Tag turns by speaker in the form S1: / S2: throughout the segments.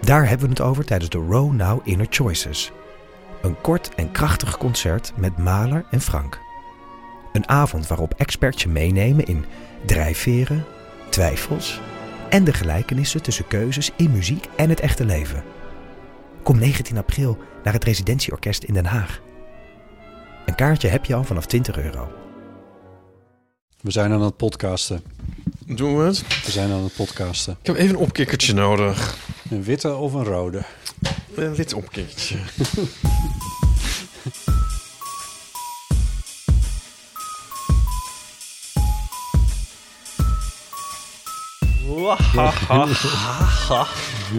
S1: Daar hebben we het over tijdens de Row Now Inner Choices. Een kort en krachtig concert met Maler en Frank. Een avond waarop experts je meenemen in drijfveren, twijfels en de gelijkenissen tussen keuzes in muziek en het echte leven. Kom 19 april naar het Residentieorkest in Den Haag. Een kaartje heb je al vanaf 20 euro.
S2: We zijn aan het podcasten.
S3: Doen we het?
S2: We zijn aan het podcasten.
S3: Ik heb even een opkikkertje nodig.
S2: Een witte of een rode?
S3: Een wit opkikkertje.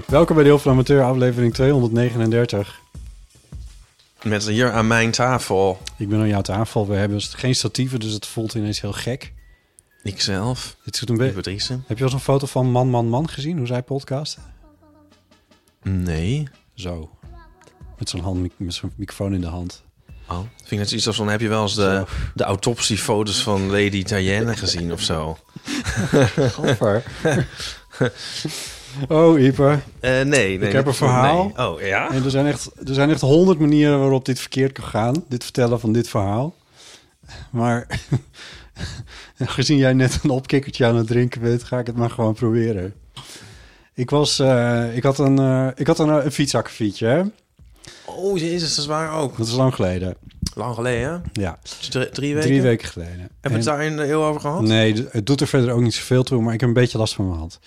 S2: Welkom bij de Heel van Amateur, aflevering 239.
S3: Met hier aan mijn tafel.
S2: Ik ben aan jouw tafel. We hebben geen statieven, dus het voelt ineens heel gek.
S3: Ikzelf.
S2: Het doet een
S3: Lieve
S2: beetje...
S3: Driessen.
S2: Heb je al zo'n foto van Man, Man, Man gezien? Hoe zij podcasten?
S3: Nee.
S2: Zo. Met zo'n hand, met zo'n microfoon in de hand.
S3: Oh. Vind ik net iets als van, heb je wel eens de, de autopsiefoto's van Lady Diana gezien of zo?
S2: Gaffer. oh, Ieper.
S3: Eh, nee, nee.
S2: heb een
S3: nee.
S2: verhaal.
S3: Oh, ja?
S2: En er zijn echt, er zijn echt honderd manieren waarop dit verkeerd kan gaan. Dit vertellen van dit verhaal. Maar gezien jij net een opkikkertje aan het drinken bent, ga ik het maar gewoon proberen. Ik, was, eh, ik had een, eh, ik had een, eh, een fietsakkefietje, hè?
S3: Oh, jezus, dat is waar ook.
S2: Dat is lang geleden.
S3: Lang geleden, hè?
S2: Ja,
S3: Dus Drie, drie weken?
S2: drie weken geleden.
S3: Hebben we
S2: En-
S3: het daar een heel over gehad?
S2: Nee, d- het doet er verder ook niet zoveel toe, maar ik heb een beetje last van mijn hand.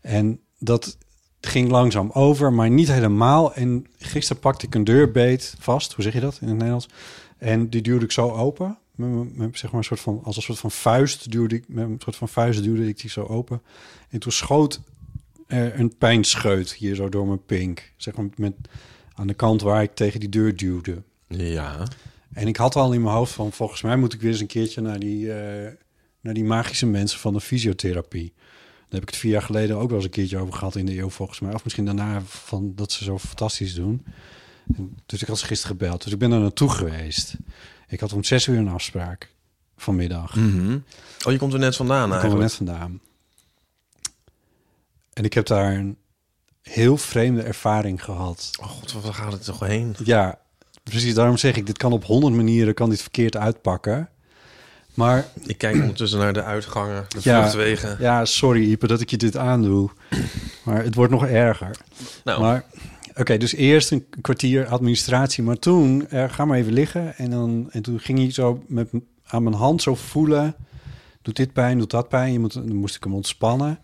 S2: En dat ging langzaam over, maar niet helemaal. En gisteren pakte ik een deurbeet vast, hoe zeg je dat in het Nederlands? En die duwde ik zo open. Met, mijn- met, zeg maar een soort van, als een soort van vuist duwde ik, met een soort van vuist duwde ik die zo open. En toen schoot er een pijnscheut hier zo door mijn pink. Zeg maar met, aan de kant waar ik tegen die deur duwde.
S3: Ja.
S2: En ik had al in mijn hoofd van, volgens mij moet ik weer eens een keertje naar die, eh, naar die magische mensen van de fysiotherapie. Daar heb ik het vier jaar geleden ook wel eens een keertje over gehad in de eeuw, volgens mij. Of misschien daarna, van dat ze zo fantastisch doen. En dus ik had ze gisteren gebeld. Dus ik ben er naartoe geweest. Ik had om zes uur een afspraak vanmiddag.
S3: Mhm. Oh, je komt er net vandaan
S2: Ik kwam er
S3: eigenlijk.
S2: net vandaan. En ik heb daar een heel vreemde ervaring gehad.
S3: Oh god, waar gaat het toch heen?
S2: Ja, precies. Daarom zeg ik, dit kan op honderd manieren kan dit verkeerd uitpakken. Maar
S3: Ik kijk ondertussen naar de uitgangen, de
S2: Ja.
S3: vluchtwegen.
S2: ja, sorry Ipe dat ik je dit aandoe. Maar het wordt nog erger.
S3: Nou,
S2: Maar oké, dus eerst een kwartier administratie. Maar toen, eh, ga maar even liggen. En, dan, en toen ging hij zo met, m- aan mijn hand zo voelen. Doet dit pijn, doet dat pijn. Je moet, dan moest ik hem ontspannen.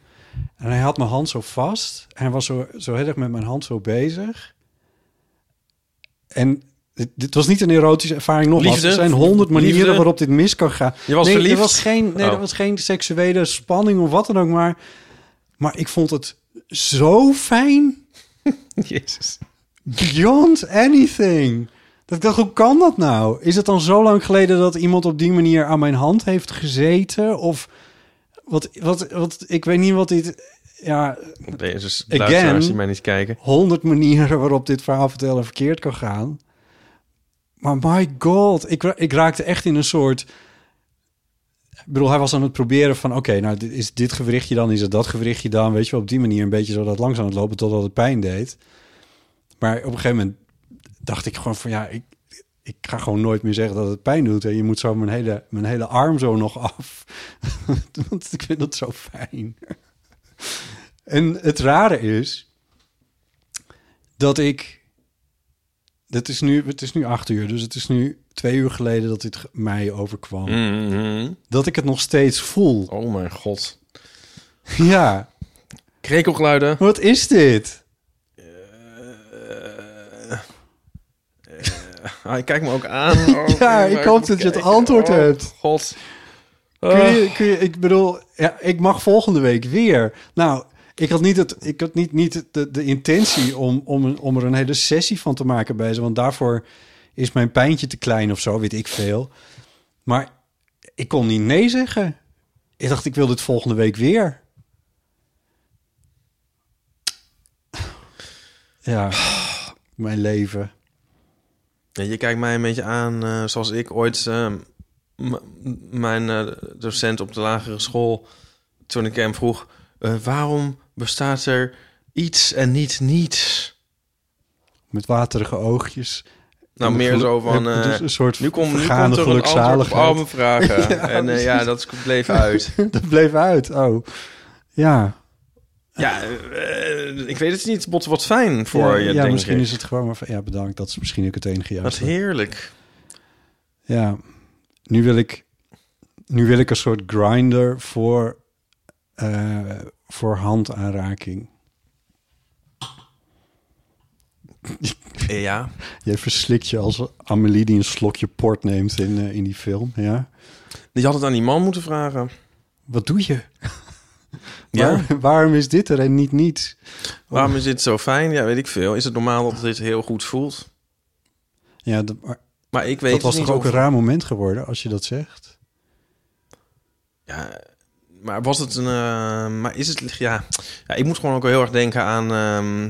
S2: En hij had mijn hand zo vast. Hij was zo, zo heel erg met mijn hand zo bezig. En dit, dit was niet een erotische ervaring nogmaals.
S3: Liefde?
S2: Er zijn honderd manieren
S3: Liefde?
S2: waarop dit mis kan gaan.
S3: Je was
S2: nee,
S3: verliefd?
S2: Er was geen, nee,
S3: Oh.
S2: er was geen seksuele spanning of wat dan ook. Maar, maar ik vond het zo fijn
S3: jezus.
S2: beyond anything. Dat ik dacht, hoe kan dat nou? Is het dan zo lang geleden dat iemand op die manier aan mijn hand heeft gezeten? Of wat, wat, wat ik weet niet wat dit... Ja,
S3: Jezus,
S2: Again.
S3: luisteraars die mij niet kijken.
S2: honderd manieren waarop dit verhaal vertellen verkeerd kan gaan. Maar my god, ik, ra- ik raakte echt in een soort... Ik bedoel, hij was aan het proberen van... oké, nou, dit, is dit gewrichtje dan, is het dat gewrichtje dan? Weet je wel, op die manier een beetje zo dat langs aan het lopen... totdat het pijn deed. Maar op een gegeven moment dacht ik gewoon van... ja, ik, ik ga gewoon nooit meer zeggen dat het pijn doet. En je moet zo mijn hele, mijn hele arm zo nog af. Want ik vind dat zo fijn. en het rare is dat ik. Dat is nu, het is nu acht uur, dus het is nu twee uur geleden dat dit ge- mij overkwam.
S3: Mhm.
S2: Dat ik het nog steeds voel.
S3: Oh mijn god.
S2: Ja,
S3: Krekelgeluiden.
S2: wat is dit?
S3: Ah, ik kijk me ook aan. Oh,
S2: Ja, ik hoop
S3: moet
S2: dat je het
S3: kijken. Oh,
S2: antwoord hebt.
S3: God. Ah.
S2: Kun je, kun je, ik bedoel, ja, ik mag volgende week weer. Nou, Ik had niet, het, ik had niet, niet de, de intentie om, om, een- om er een hele sessie van te maken bij ze. Want daarvoor is mijn pijntje te klein of zo, weet ik veel. Maar ik kon niet nee zeggen. Ik dacht, ik wil dit volgende week weer. Ja, mijn leven.
S3: Ja, je kijkt mij een beetje aan eh, zoals ik ooit eh, m- m- mijn eh, docent op de lagere school, toen ik hem vroeg, eh, waarom bestaat er iets en niet niets?
S2: Met waterige oogjes.
S3: Nou,
S2: En
S3: meer
S2: gelu-
S3: zo van,
S2: heb- dus
S3: eh,
S2: een soort
S3: Nu komt nu
S2: vergane
S3: komt er een antwoord op oh,
S2: gelukzaligheid.
S3: al mijn vragen. en eh,
S2: precies.
S3: ja, dat bleef uit.
S2: Dat bleef uit. Oh, ja.
S3: ja, eh, ik weet het niet. Bot, wat fijn voor
S2: ja,
S3: je,
S2: ja,
S3: denk
S2: misschien
S3: ik.
S2: is het gewoon maar van, ja, bedankt. Dat is misschien ook het enige
S3: Wat
S2: juiste.
S3: heerlijk.
S2: Ja, nu wil ik, nu wil ik een soort grinder voor, eh, voor handaanraking.
S3: Ja.
S2: Jij verslikt je als Amelie die een slokje port neemt in, eh, in die film, ja.
S3: Je had het aan die man moeten vragen.
S2: Wat doe je?
S3: Ja.
S2: Waar- waarom is dit er en niet niets?
S3: Waarom
S2: Oh.
S3: is dit zo fijn? Ja, weet ik veel. Is het normaal dat dit heel goed voelt?
S2: Ja, dat, maar
S3: Maar ik weet
S2: dat was
S3: het
S2: toch
S3: niet
S2: ook
S3: of-
S2: een raar moment geworden als je dat zegt?
S3: Ja, maar was het een... eh, maar is het... Ja, ja, ik moet gewoon ook heel erg denken aan... ehm,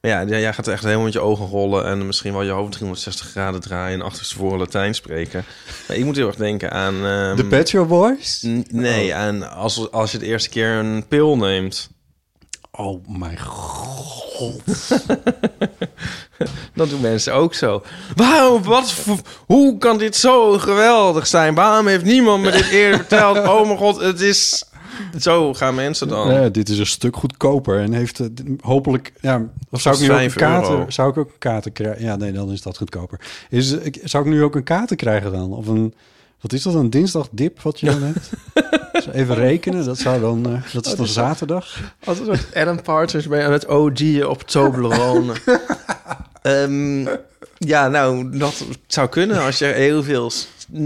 S3: maar ja, jij jij gaat echt helemaal met je ogen rollen... en misschien wel je hoofd 360 graden draaien... en achterstevoren Latijn spreken. Maar ik moet heel erg denken aan... ehm,
S2: De Pet Shop Boys?
S3: N- Nee, en als, als je de eerste keer een pil neemt,
S2: Oh mijn god.
S3: dan doen mensen ook zo. Waarom, wat, voor- hoe kan dit zo geweldig zijn? Waarom heeft niemand me dit eerder verteld? Oh mijn god, het is... Zo gaan mensen dan.
S2: Ja, dit is een stuk goedkoper en heeft eh, d- hopelijk. Ja, of zou ik nu ook een
S3: €5 euro.
S2: kater? Zou ik ook een kater krijgen? Ja, nee, dan is dat goedkoper. Is, eh, ik- zou ik nu ook een kater krijgen dan? Of een. Wat is dat, een dinsdagdip wat je dan hebt? Dus even rekenen, dat zou dan.
S3: Oh,
S2: eh, dat is dan zaterdag.
S3: Als een soort Adam Partridge bij aan het OG op Toblerone. Ehm, ja, nou, dat zou kunnen als je heel veel...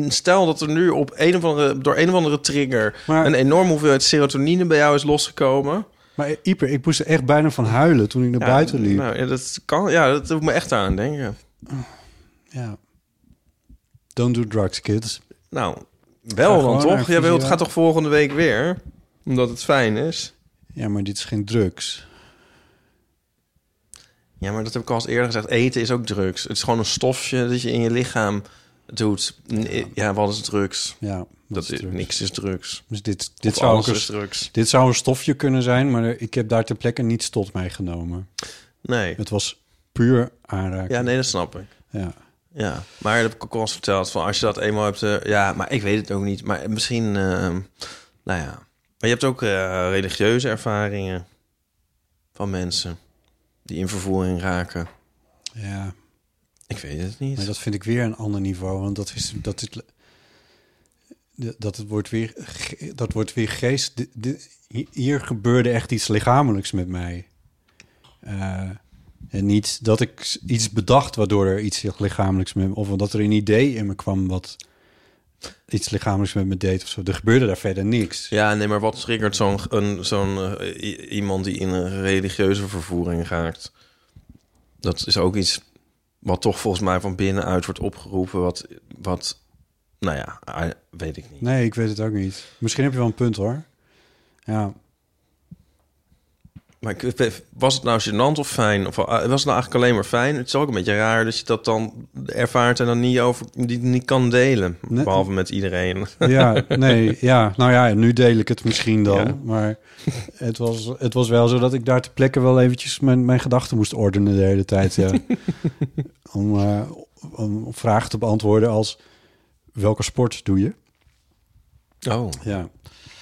S3: Stel dat er nu op een of andere, door een of andere trigger...
S2: Maar-
S3: een enorme hoeveelheid serotonine bij jou is losgekomen.
S2: Maar eh, Ieper, ik moest er echt bijna van huilen toen ik naar
S3: Ja,
S2: buiten liep.
S3: Nou, ja, dat kan, ja, dat doet me echt aan denken.
S2: Ja. Don't do drugs, kids.
S3: Nou,
S2: Ga
S3: wel dan
S2: gewoon naar
S3: toch? Jij wilt,
S2: fysio.
S3: gaat toch volgende week weer? Omdat het fijn is.
S2: Ja, maar dit is geen drugs.
S3: Ja, maar dat heb ik al eens eerder gezegd. Eten is ook drugs. Het is gewoon een stofje dat je in je lichaam doet. N- Ja, wat is drugs?
S2: Ja, dat,
S3: Dat
S2: is
S3: is,
S2: drugs.
S3: niks is drugs.
S2: Dus dit, dit
S3: Of
S2: zou ook
S3: alles
S2: een
S3: is drugs.
S2: Dit zou een stofje kunnen zijn, maar ik heb daar ter plekke niets tot mij genomen.
S3: Nee.
S2: Het was puur aanraken.
S3: Ja, nee, dat snap ik.
S2: Ja.
S3: Ja, maar dat heb ik ook al eens verteld. Van als je dat eenmaal hebt... eh, ja, maar ik weet het ook niet. Maar misschien... ehm, nou ja. Maar je hebt ook eh, religieuze ervaringen van mensen die in vervoering raken.
S2: ja,
S3: Ik weet het niet.
S2: maar dat vind ik weer een ander niveau, want dat is dat is dat het wordt weer ge- dat wordt weer geest. Di- di- hi- hier gebeurde echt iets lichamelijks met mij. Eh, en niet dat ik s- iets bedacht waardoor er iets lichamelijks met me, of dat er een idee in me kwam wat iets lichamelijks met me deed of zo. Er gebeurde daar verder niks.
S3: Ja, nee, maar wat triggert zo'n een- zo'n eh, i- iemand die in een religieuze vervoering raakt? Dat is ook iets wat toch volgens mij van binnenuit wordt opgeroepen. Wat, wat nou ja, ah, weet ik niet.
S2: Nee, ik weet het ook niet. Misschien heb je wel een punt hoor. Ja,
S3: Maar ik- was het nou gênant of fijn? Of eh, was het nou eigenlijk alleen maar fijn? Het is ook een beetje raar dat je dat dan ervaart en dan niet, over, niet, niet kan delen.
S2: Nee.
S3: Behalve met iedereen.
S2: ja nee, ja. Nou ja, nu deel ik het misschien dan.
S3: Ja.
S2: Maar het was, het was wel zo dat ik daar ter plekke wel eventjes mijn, mijn gedachten moest ordenen de hele tijd. Ja. om, eh, om vragen te beantwoorden als... Welke sport doe je?
S3: Oh.
S2: Ja,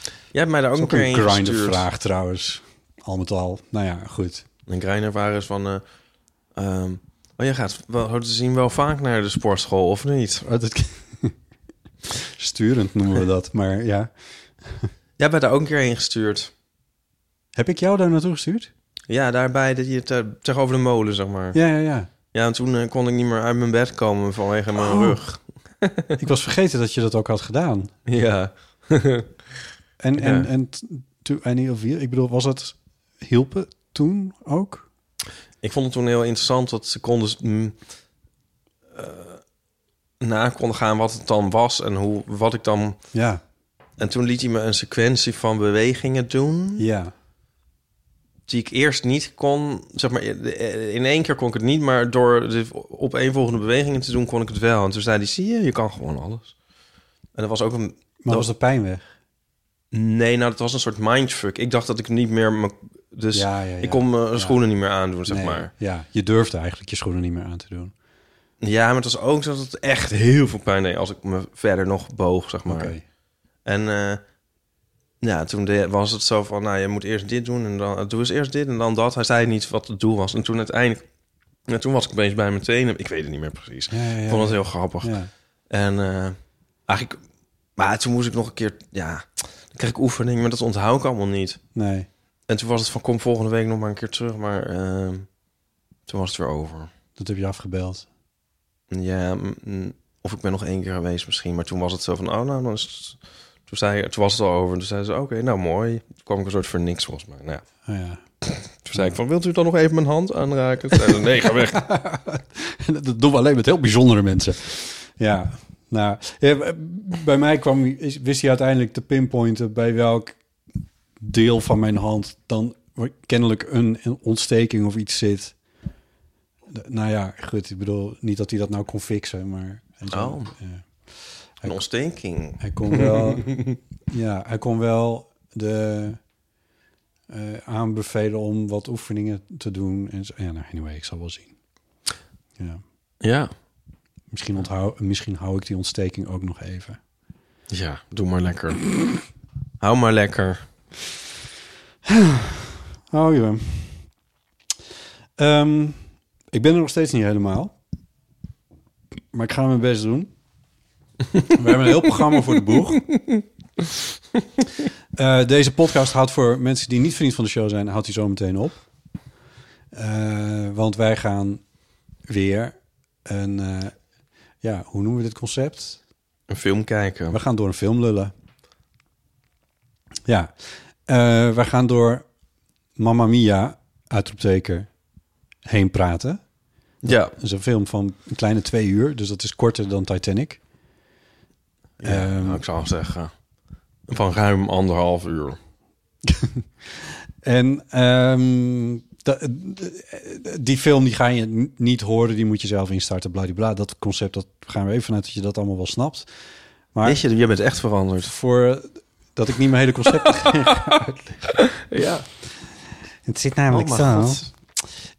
S3: Jij hebt mij daar ook
S2: dat is
S3: een
S2: ook
S3: keer
S2: een
S3: een
S2: grinder
S3: gestuurd.
S2: vraag trouwens. Al met al. Nou ja, goed.
S3: Een grinder waar is van... eh ehm, oh, jij gaat wel, zo te zien wel vaak naar de sportschool, of niet?
S2: Oh, dat- Sturend noemen we dat, maar ja.
S3: Jij bent daar ook een keer heen gestuurd.
S2: Heb ik jou daar naartoe gestuurd?
S3: Ja, daarbij dat je te- tegenover de molen, zeg maar. Ja,
S2: Ja, ja, ja.
S3: en toen eh, kon ik niet meer uit mijn bed komen vanwege mijn
S2: Oh.
S3: rug.
S2: Ik was vergeten dat je dat ook had gedaan.
S3: Ja.
S2: En,
S3: Ja.
S2: en, en t- to any of you, ik bedoel, was het hielpen toen ook?
S3: Ik vond het toen heel interessant dat ze konden mm, eh, na konden gaan wat het dan was en hoe, wat ik dan...
S2: Ja,
S3: En toen liet hij me een sequentie van bewegingen doen...
S2: ja.
S3: die ik eerst niet kon. Zeg maar, in één keer kon ik het niet, maar door de opeenvolgende bewegingen te doen, kon ik het wel. En toen zei hij, zie je, je kan gewoon alles. En dat was ook een...
S2: Maar
S3: dat
S2: was de pijn weg?
S3: Nee, nou, dat was een soort mindfuck. Ik dacht dat ik niet meer... me- dus
S2: Ja, ja, ja.
S3: ik kon mijn
S2: Ja.
S3: schoenen niet meer aandoen, zeg
S2: Nee,
S3: maar.
S2: Ja, je durfde eigenlijk je schoenen niet meer aan te doen.
S3: Ja, maar het was ook zo dat het echt heel veel pijn deed... als ik me verder nog boog, zeg maar.
S2: Oké.
S3: En eh, ja, toen de- was het zo van, nou, je moet eerst dit doen en dan doe eens eerst dit en dan dat. Hij zei niet wat het doel was. En toen uiteindelijk, ja, toen was ik opeens bij mijn tenen. Ik weet het niet meer precies.
S2: Ja, ja, ja.
S3: ik vond het heel grappig.
S2: Ja.
S3: En eh, eigenlijk, maar toen moest ik nog een keer, ja, dan kreeg ik oefening, maar dat onthoud ik allemaal niet.
S2: Nee.
S3: En toen was het van, kom volgende week nog maar een keer terug, maar eh, toen was het weer over.
S2: Dat heb je afgebeld.
S3: Ja, mm, mm, of ik ben nog één keer geweest misschien. Maar toen was het zo van, oh nou, dan is het- Toen, zei, toen was het al over. En toen zei ze, oké, nou mooi. Toen kwam ik een soort voor niks volgens mij. Nou, ja.
S2: Oh, ja.
S3: toen zei ik van, wilt u dan nog even mijn hand aanraken? Toen zei ze, nee, ga weg.
S2: Dat doen we alleen met heel bijzondere mensen. Ja, nou, ja, bij mij kwam, is- wist hij uiteindelijk te pinpointen bij welk deel van mijn hand dan kennelijk een, een ontsteking of iets zit. De- Nou ja, goed, ik bedoel niet dat hij dat nou kon fixen, maar. en zo.
S3: Oh.
S2: Ja.
S3: Een ontsteking.
S2: Hij kon wel, ja, hij kon wel de eh, aanbevelen om wat oefeningen te doen. En zo. Ja, nou, anyway, ik zal wel zien. Ja.
S3: Ja.
S2: Misschien, onthou, misschien hou ik die ontsteking ook nog even.
S3: Ja, doe maar lekker. Hou maar lekker.
S2: Oh ja. Ehm, ik ben er nog steeds niet helemaal. Maar ik ga mijn best doen. We hebben een heel programma voor de boeg. Eh, deze podcast houdt voor mensen die niet vriend van de show zijn, houdt hij zo meteen op. Eh, want wij gaan weer een, eh, ja, hoe noemen we dit concept?
S3: Een film kijken.
S2: We gaan door een film lullen. Ja. Eh, we gaan door Mamma Mia, uitroepteken, heen praten.
S3: Ja.
S2: Dat is een film van een kleine twee uur, dus dat is korter dan Titanic.
S3: Ja,
S2: Ehm.
S3: nou, ik zou zeggen, van ruim anderhalf uur.
S2: En ehm, da- eh, die film die ga je n- niet horen, die moet je zelf instarten, bladibla. Dat concept, dat gaan we even vanuit dat je dat allemaal wel snapt. Maar
S3: Weet je, je bent echt veranderd.
S2: voor eh, dat ik niet mijn hele concept...
S3: Ja.
S2: Het zit
S3: Oh,
S2: namelijk
S3: mijn god.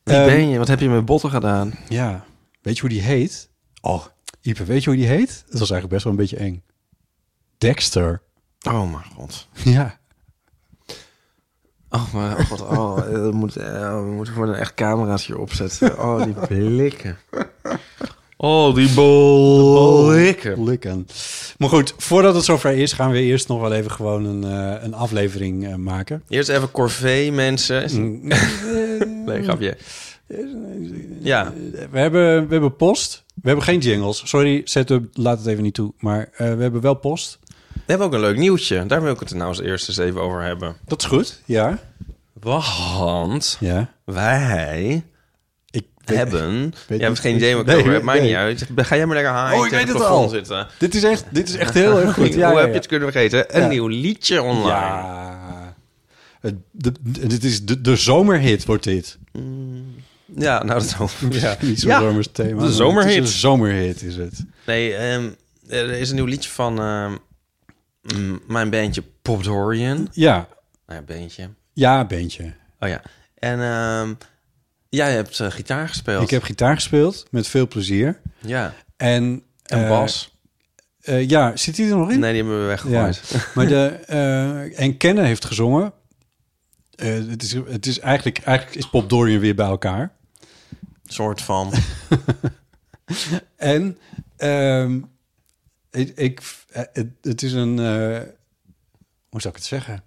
S3: Wie
S2: Ehm.
S3: ben je? Wat heb je met botten gedaan?
S2: Ja. Weet je hoe die heet? Oh, Ipe, weet je hoe die heet? Dat was eigenlijk best wel een beetje eng. Dexter.
S3: Oh mijn god.
S2: Ja.
S3: Oh, maar oh god, oh, eh, we moeten, eh, we moeten gewoon een echt camera's hier opzetten. Oh, die blikken. Oh, die blikken.
S2: Oh, Likken. Maar goed, voordat het zover is, gaan we eerst nog wel even gewoon een, eh, een aflevering eh, maken. Eh,
S3: Eerst even corvée, mensen.
S2: Mm.
S3: Nee, grapje. Ja,
S2: We hebben, we hebben post. We hebben geen jingles. Sorry, setup, laat het even niet toe. Maar eh, we hebben wel post.
S3: we hebben ook een leuk nieuwtje. Daar wil ik het er nou als eerste eens even over hebben.
S2: Dat is goed. Ja.
S3: Want
S2: Ja.
S3: wij
S2: Ik
S3: hebben... Jij
S2: niet
S3: hebt geen
S2: precies.
S3: idee wat ik
S2: Nee,
S3: over heb. Maakt
S2: nee.
S3: niet uit. Ga jij maar lekker high
S2: Oh, ik
S3: tegen
S2: weet
S3: het
S2: het
S3: plafond
S2: al.
S3: zitten.
S2: Dit is echt, dit is echt heel erg goed. Ja, ja,
S3: Hoe heb
S2: ja.
S3: je het kunnen vergeten? Een
S2: Ja.
S3: nieuw liedje online.
S2: Ja. Het, de, de- dit is de, de zomerhit wordt dit.
S3: Ja, nou dat ook.
S2: Ja, niet zo'n
S3: Ja,
S2: zomers thema.
S3: de zomerhit.
S2: Het is een zomerhit is het.
S3: Nee, ehm, er is een nieuw liedje van ehm, mm, mijn bandje Pop Dorian.
S2: Ja,
S3: Nou ja, bandje.
S2: ja, beentje.
S3: Oh ja. En ehm, jij hebt eh, gitaar gespeeld.
S2: Ik heb gitaar gespeeld met veel plezier.
S3: Ja.
S2: En,
S3: En
S2: eh,
S3: Bas.
S2: eh, ja, zit hij er nog in?
S3: Nee, die hebben we
S2: ja.
S3: weggegooid.
S2: maar de, eh, en Kennen heeft gezongen. Eh, het is, het is eigenlijk, eigenlijk is Pop Dorian weer bij elkaar.
S3: soort van.
S2: En ehm, ik, ik, eh, het, het is een. eh, hoe zou ik het zeggen?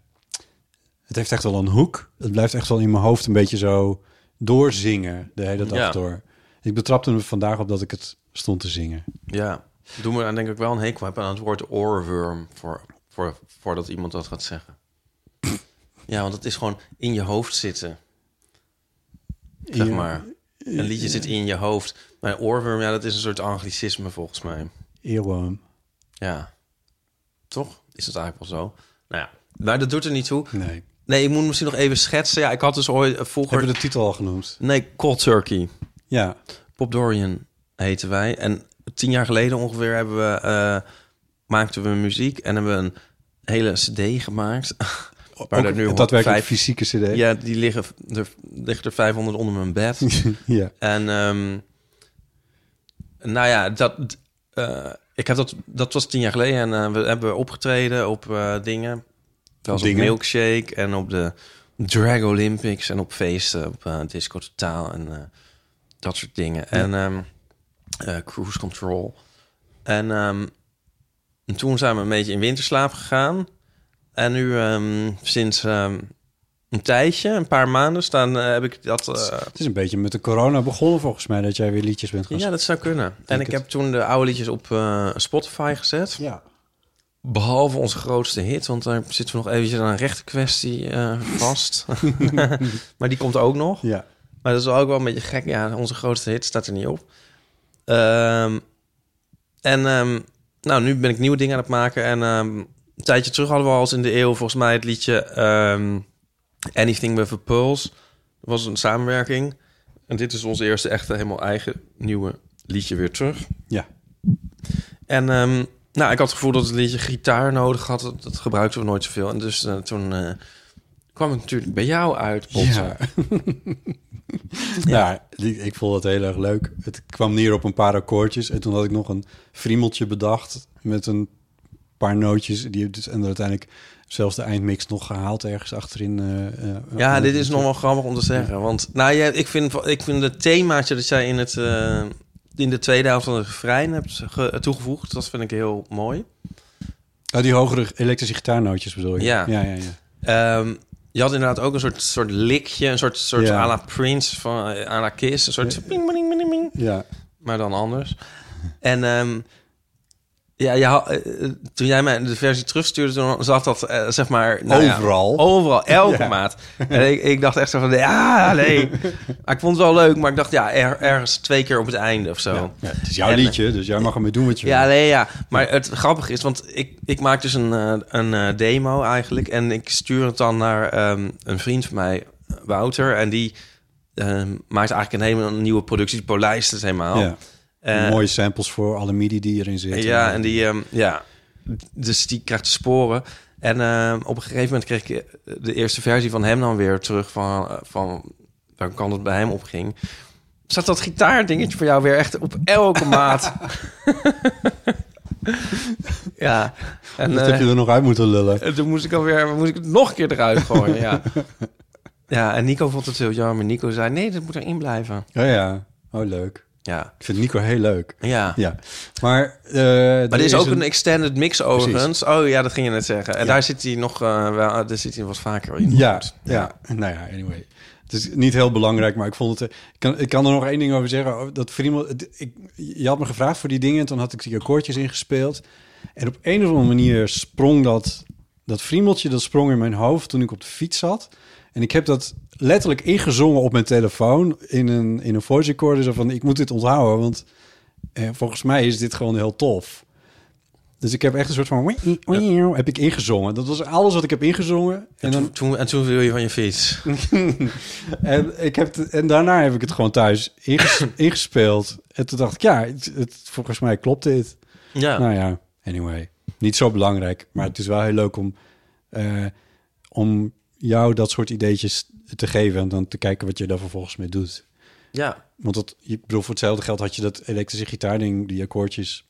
S2: Het heeft echt wel een hoek. Het blijft echt wel in mijn hoofd een beetje zo doorzingen de hele dag
S3: Ja.
S2: door. Ik betrapte me vandaag op dat ik het stond te zingen.
S3: Ja. Doe me dan denk ik wel een hekel hebben aan het woord oorworm voor, voor, voordat iemand dat gaat zeggen. Ja, want het is gewoon in je hoofd zitten. Zeg
S2: Hier.
S3: maar. Een liedje zit in je hoofd. Maar oorworm, ja, dat is een soort anglicisme volgens mij.
S2: Earworm.
S3: Ja. Toch? Is dat eigenlijk wel zo? Nou ja. Maar dat doet er niet toe.
S2: Nee.
S3: Nee, ik moet misschien nog even schetsen. Ja, ik had dus ooit eh, vroeger...
S2: Hebben we de titel al genoemd?
S3: Nee, Cold Turkey.
S2: Ja.
S3: Pop Dorian heten wij. En tien jaar geleden ongeveer hebben we, eh, maakten we muziek en hebben we een hele cd gemaakt. Waar er nu
S2: dat werkt
S3: vijf-
S2: fysieke cd.
S3: Ja, die liggen er, liggen er 500 onder mijn bed.
S2: ja.
S3: En ehm, nou ja, dat, eh, ik heb dat, dat was tien jaar geleden. En eh, we hebben opgetreden op eh, dingen. Zoals op
S2: Dingen?
S3: Milkshake en op de Drag Olympics. En op feesten, op eh, Disco Totaal en eh, dat soort dingen. En ehm, eh, Cruise Control. En, ehm, en toen zijn we een beetje in winterslaap gegaan. En nu ehm, sinds ehm, een tijdje, een paar maanden, staan, eh, heb ik dat... eh,
S2: Het is een beetje met de corona begonnen volgens mij dat jij weer liedjes bent gaan
S3: ja, dat zou kunnen. En
S2: Denk
S3: ik
S2: het.
S3: heb toen de oude liedjes op eh, Spotify gezet.
S2: ja.
S3: Behalve onze grootste hit, want daar zitten we nog eventjes aan een rechtenkwestie eh, vast. maar die komt ook nog.
S2: Ja.
S3: Maar dat is ook wel een beetje gek. Ja, onze grootste hit staat er niet op. Ehm, en ehm, nou, nu ben ik nieuwe dingen aan het maken. En ehm, een tijdje terug hadden we al eens in de eeuw volgens mij het liedje ehm, Anything with a Pulse. Dat was een samenwerking. En dit is ons eerste echte helemaal eigen nieuwe liedje weer terug.
S2: Ja.
S3: En ehm, nou, ik had het gevoel dat het liedje gitaar nodig had. Dat, dat gebruikten we nooit zoveel. En dus eh, toen eh, kwam het natuurlijk bij jou uit. Botte.
S2: Ja. ja, Nou, die- ik vond het heel erg leuk. Het kwam neer op een paar akkoordjes. En toen had ik nog een friemeltje bedacht met een paar nootjes. Die, heb dus- en er uiteindelijk zelfs de eindmix nog gehaald ergens achterin. eh, eh,
S3: Ja,
S2: eh,
S3: dit is nog wel grappig om te zeggen. Want nou, jij, ik, vind, ik vind het themaatje dat jij in, het, eh, in de tweede helft van het refrein hebt ge- toegevoegd... dat vind ik heel mooi.
S2: Oh, die hogere elektrische gitaarnootjes bedoel je?
S3: Ja.
S2: ja, ja. ja.
S3: Ehm, je had inderdaad ook een soort, soort likje, een soort, soort
S2: Ja.
S3: à la Prince, van, eh, à la Kiss. Een soort ping, ping, ping, ping.
S2: ja.
S3: maar dan anders. En ehm, ja, je had- eh, eh, toen jij mij de versie terugstuurde, toen zat dat eh, zeg maar... nou ja,
S2: Overal.
S3: overal, elke
S2: Ja.
S3: maat. En ik, ik dacht echt zo van, ja, nee. maar ik vond het wel leuk, maar ik dacht, ja, er- ergens twee keer op het einde of zo. Ja,
S2: Ja, het is jouw
S3: En-
S2: liedje, dus jij mag ermee doen wat je wil.
S3: nee, ja. Maar het grappige is, want ik, ik maak dus een, eh, een eh, demo eigenlijk. En ik stuur het dan naar ehm, een vriend van mij, Wouter. En die ehm, maakt eigenlijk een hele nieuwe productie. Die polijst het helemaal.
S2: Ja.
S3: Eh,
S2: Mooie samples voor alle midi die erin zitten.
S3: Ja, en die, ehm, ja, dus die krijgt sporen. En ehm, op een gegeven moment kreeg ik de eerste versie van hem dan weer terug van, eh, van welke kant het bij hem opging. Zat dat gitaardingetje voor jou weer echt op elke maat? ja. En
S2: dat
S3: eh,
S2: heb je er nog uit moeten lullen.
S3: en toen moest ik alweer, moest ik het nog een keer eruit gooien. ja. ja, en Nico vond het heel jammer. Nico zei, nee, dat moet erin blijven.
S2: Oh ja, oh leuk.
S3: Ja,
S2: Ik vind Nico heel leuk.
S3: ja.
S2: Ja, maar... eh, er
S3: Maar er is ook een extended mix overigens. Oh ja, dat ging je net zeggen. En
S2: Ja.
S3: daar zit hij nog eh, wel, daar zit hij wat vaker in.
S2: Ja, ja, nou ja, anyway. Het is niet heel belangrijk, maar ik vond het... eh, Ik kan, ik kan er nog één ding over zeggen. Oh, Dat Friemel, het- ik, je had me gevraagd voor die dingen... en toen had ik die akkoordjes ingespeeld. En op een of andere manier sprong dat... Dat friemeltje, dat sprong in mijn hoofd toen ik op de fiets zat. En ik heb dat letterlijk ingezongen op mijn telefoon... in een, in een voice recorder. Zo van, ik moet dit onthouden, want... eh, volgens mij is dit gewoon heel tof. Dus ik heb echt een soort van... Heb ik ingezongen. Dat was alles wat ik heb ingezongen.
S3: En, toen, toen, en toen viel je van je fiets.
S2: En, ik heb het- en daarna heb ik het gewoon thuis inges- ingespeeld. En toen dacht ik, ja, het, het- volgens mij klopt dit.
S3: Ja.
S2: Nou ja, anyway. Niet zo belangrijk, maar het is wel heel leuk om, eh, om jou dat soort ideetjes te geven... en dan te kijken wat je daar vervolgens mee doet.
S3: ja.
S2: Want dat, ik bedoel, voor hetzelfde geld had je dat elektrische gitaarding, die akkoordjes...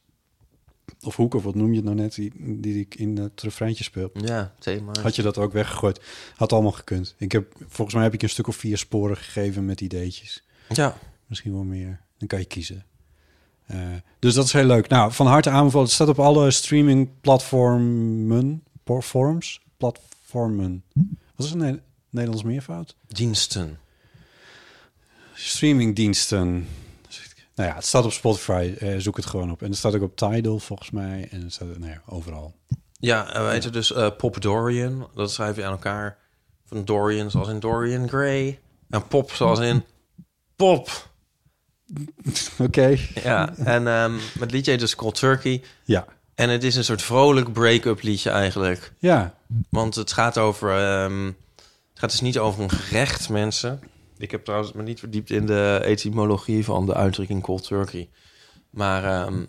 S2: of hoek, of wat noem je het nou net, die, die ik in het refreintje speel.
S3: Ja, thema.
S2: Had je dat ook weggegooid? Had allemaal gekund. Ik heb, volgens mij heb ik je een stuk of vier sporen gegeven met ideetjes.
S3: Ja.
S2: Misschien wel meer. Dan kan je kiezen. Eh, dus dat is heel leuk. Nou, van harte aanbevolen. Het staat op alle streamingplatformen. Platforms? Platformen. Wat is een Ne- Nederlands meervoud?
S3: Diensten.
S2: Streamingdiensten. Nou ja, het staat op Spotify. Eh, zoek het gewoon op. En het staat ook op Tidal, volgens mij. En het staat nou ja, overal.
S3: eh, Ja, en we heten dus eh Pop Dorian. Dat schrijf je aan elkaar. Een Dorian zoals in Dorian Gray. Een pop zoals in pop.
S2: Oké.
S3: Ja, en ehm het liedje heet dus Cold Turkey.
S2: Ja.
S3: En het is een soort vrolijk break-up liedje eigenlijk.
S2: Ja.
S3: Want het gaat over. ehm, het gaat dus niet over een gerecht, mensen. Ik heb trouwens me niet verdiept in de etymologie van de uitdrukking cold turkey. Maar ehm,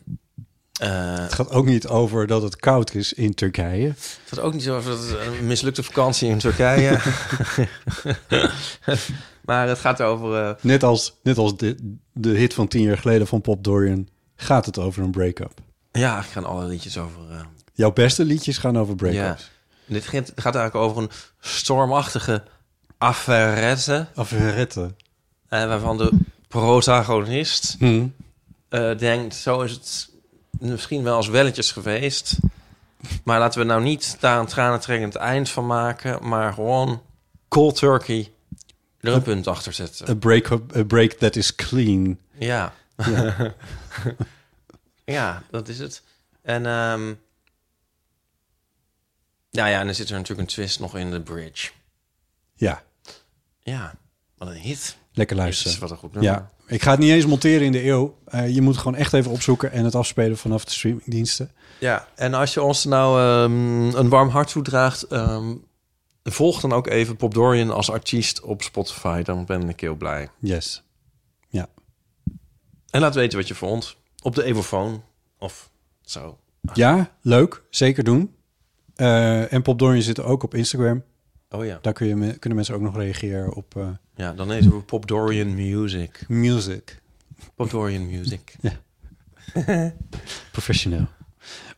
S3: eh,
S2: Het gaat ook niet over dat het koud is in Turkije.
S3: het gaat ook niet zo over dat het een mislukte vakantie in Turkije. maar het gaat over. eh,
S2: Net als, net als de, de hit van tien jaar geleden van Pop Dorian gaat het over een break-up.
S3: ja, ik gaan alle liedjes over. eh,
S2: Jouw beste liedjes gaan over
S3: ja.
S2: break-ups.
S3: Dit gaat gaat eigenlijk over een stormachtige affairette.
S2: Of herretten.
S3: eh, waarvan de protagonist
S2: Hmm.
S3: eh, denkt, zo is het misschien wel als welletjes geweest. Maar laten we nou niet daar een tranentrekkend eind van maken, maar gewoon cold turkey er een punt achter zetten.
S2: A, break-up, a break that is clean.
S3: Ja. Ja. dat is het. En ehm nou ja, en dan zit er natuurlijk een twist nog in de bridge.
S2: Ja,
S3: Ja, wat een hit.
S2: lekker
S3: Jezus,
S2: luisteren.
S3: wat een goed nummer.
S2: Ja, ik ga het niet eens monteren in de eeuw. Eh, je moet het gewoon echt even opzoeken en het afspelen vanaf de streamingdiensten.
S3: Ja, en als je ons nou ehm, een warm hart toedraagt, ehm, volg dan ook even Pop Dorian als artiest op Spotify. Dan ben ik heel blij.
S2: Yes. Ja.
S3: En laat weten wat je vond op de Evofoon of zo.
S2: Ja, leuk. Zeker doen. Eh, en Pop Dorian zit ook op Instagram.
S3: Oh ja,
S2: Daar kun je me- kunnen mensen ook nog reageren op eh,
S3: ja dan heet we Pop Dorian Music.
S2: music.
S3: Pop Dorian Music.
S2: Professioneel.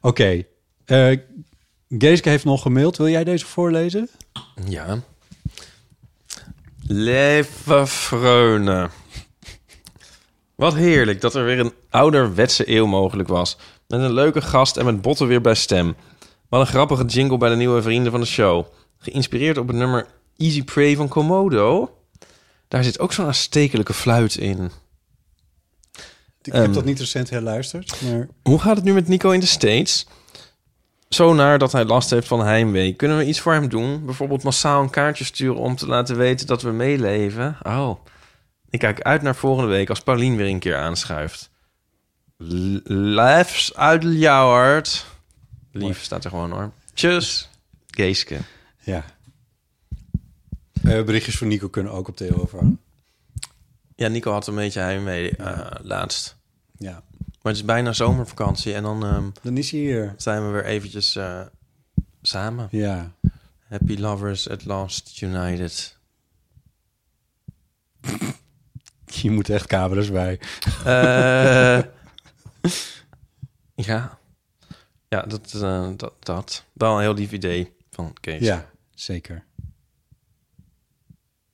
S2: Oké. Eh Geeske heeft nog gemaild. Wil jij deze voorlezen?
S3: Ja. Lieve Freune. Wat heerlijk dat er weer een ouderwetse eeuw mogelijk was. Met een leuke gast en met botten weer bij stem. Wat een grappige jingle bij de nieuwe vrienden van de show. Geïnspireerd op het nummer Easy Prey van Komodo. Daar zit ook zo'n aanstekelijke fluit in.
S2: Ik
S3: Ehm.
S2: heb dat niet recent herluisterd, maar...
S3: Hoe gaat het nu met Nico in de States? Zo naar dat hij last heeft van heimwee. Kunnen we iets voor hem doen? Bijvoorbeeld massaal een kaartje sturen om te laten weten dat we meeleven? Oh, ik kijk uit naar volgende week als Paulien weer een keer aanschuift. L- Liefs uit Ljouwert. Lief staat er gewoon hoor. Tjus, Geeske.
S2: Ja. Eh, berichtjes van Nico kunnen ook op de over.
S3: Ja, Nico had een beetje heimwee eh, laatst.
S2: Ja.
S3: Maar het is bijna zomervakantie en dan ehm,
S2: Dan is hij hier.
S3: zijn we weer eventjes eh, samen.
S2: Ja.
S3: Happy lovers at last united.
S2: Je moet echt kabelers bij.
S3: Eh, ja. Ja, dat, eh, dat, dat. Wel een heel lief idee van Kees.
S2: Ja, zeker.